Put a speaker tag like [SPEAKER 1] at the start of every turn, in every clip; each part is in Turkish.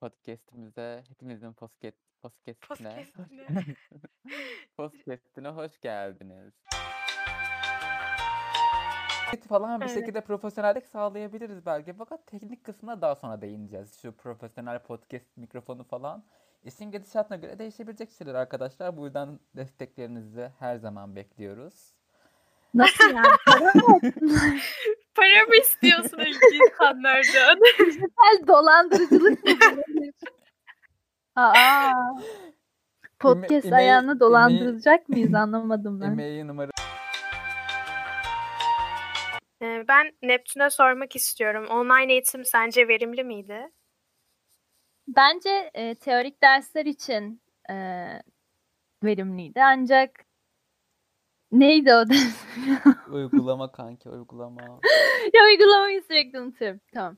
[SPEAKER 1] podcast'imize, hepinizin posket podcast'ine,
[SPEAKER 2] Podcast'ine.
[SPEAKER 1] podcast'ine hoş geldiniz. Biz falan bir
[SPEAKER 2] Evet.
[SPEAKER 1] şekilde profesyonellik sağlayabiliriz belki. Fakat teknik kısmına daha sonra değineceğiz. Şu profesyonel podcast mikrofonu falan. İşin gidişatına göre değişebilecek şeyler arkadaşlar. Bu yüzden desteklerinizi her zaman bekliyoruz.
[SPEAKER 3] Nasıl yani?
[SPEAKER 2] Para mı istiyorsun ilgili insanlardan?
[SPEAKER 3] Dijital dolandırıcılık mı bu? Aa. Podcast
[SPEAKER 1] ime-
[SPEAKER 3] ayağına dolandırılacak mıyız anlamadım ben.
[SPEAKER 1] E-mail E numara
[SPEAKER 2] Ee, ben Neptün'e sormak istiyorum. Online eğitim sence verimli miydi?
[SPEAKER 3] Bence e, teorik dersler için e, verimliydi ancak neydi o ders?
[SPEAKER 1] uygulama kanki uygulama.
[SPEAKER 3] ya uygulamayı sürekli unutuyorum. Tamam.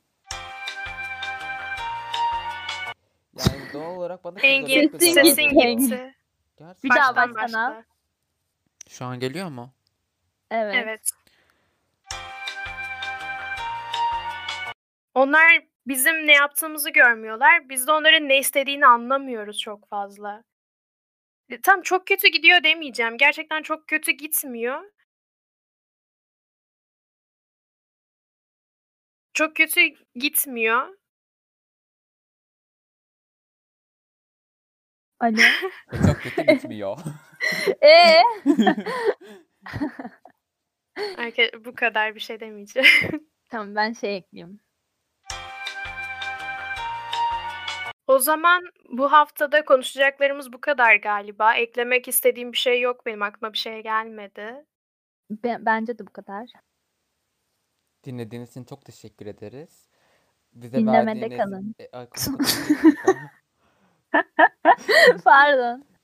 [SPEAKER 1] Yani doğal olarak bana
[SPEAKER 2] Engin
[SPEAKER 1] şizofren
[SPEAKER 3] Sesin
[SPEAKER 1] tezahürü
[SPEAKER 2] sesin
[SPEAKER 3] gitti.
[SPEAKER 1] geliyor.
[SPEAKER 2] gitti.
[SPEAKER 1] Gerçekten.
[SPEAKER 3] Bir daha
[SPEAKER 2] Baştan
[SPEAKER 3] baştan al.
[SPEAKER 2] başla.
[SPEAKER 1] Şu an geliyor mu?
[SPEAKER 3] Evet.
[SPEAKER 2] Evet. Onlar bizim ne yaptığımızı görmüyorlar. Biz de onların ne istediğini anlamıyoruz çok fazla. E, Tam çok kötü gidiyor demeyeceğim. Gerçekten çok kötü gitmiyor. Çok kötü gitmiyor.
[SPEAKER 3] Alo.
[SPEAKER 1] E, Çok kötü gitmiyor.
[SPEAKER 3] Ee?
[SPEAKER 2] Arka- bu kadar bir şey demeyeceğim.
[SPEAKER 3] Tamam ben şey ekleyeyim.
[SPEAKER 2] O zaman bu haftada konuşacaklarımız bu kadar galiba. Eklemek istediğim bir şey yok benim aklıma bir şey gelmedi.
[SPEAKER 3] Be- bence de bu kadar.
[SPEAKER 1] Dinlediğiniz için çok teşekkür ederiz. Bize E,
[SPEAKER 3] Dinlemede
[SPEAKER 1] verdiğiniz...
[SPEAKER 3] kalın.
[SPEAKER 1] E, ay, kapatalım.
[SPEAKER 3] Pardon.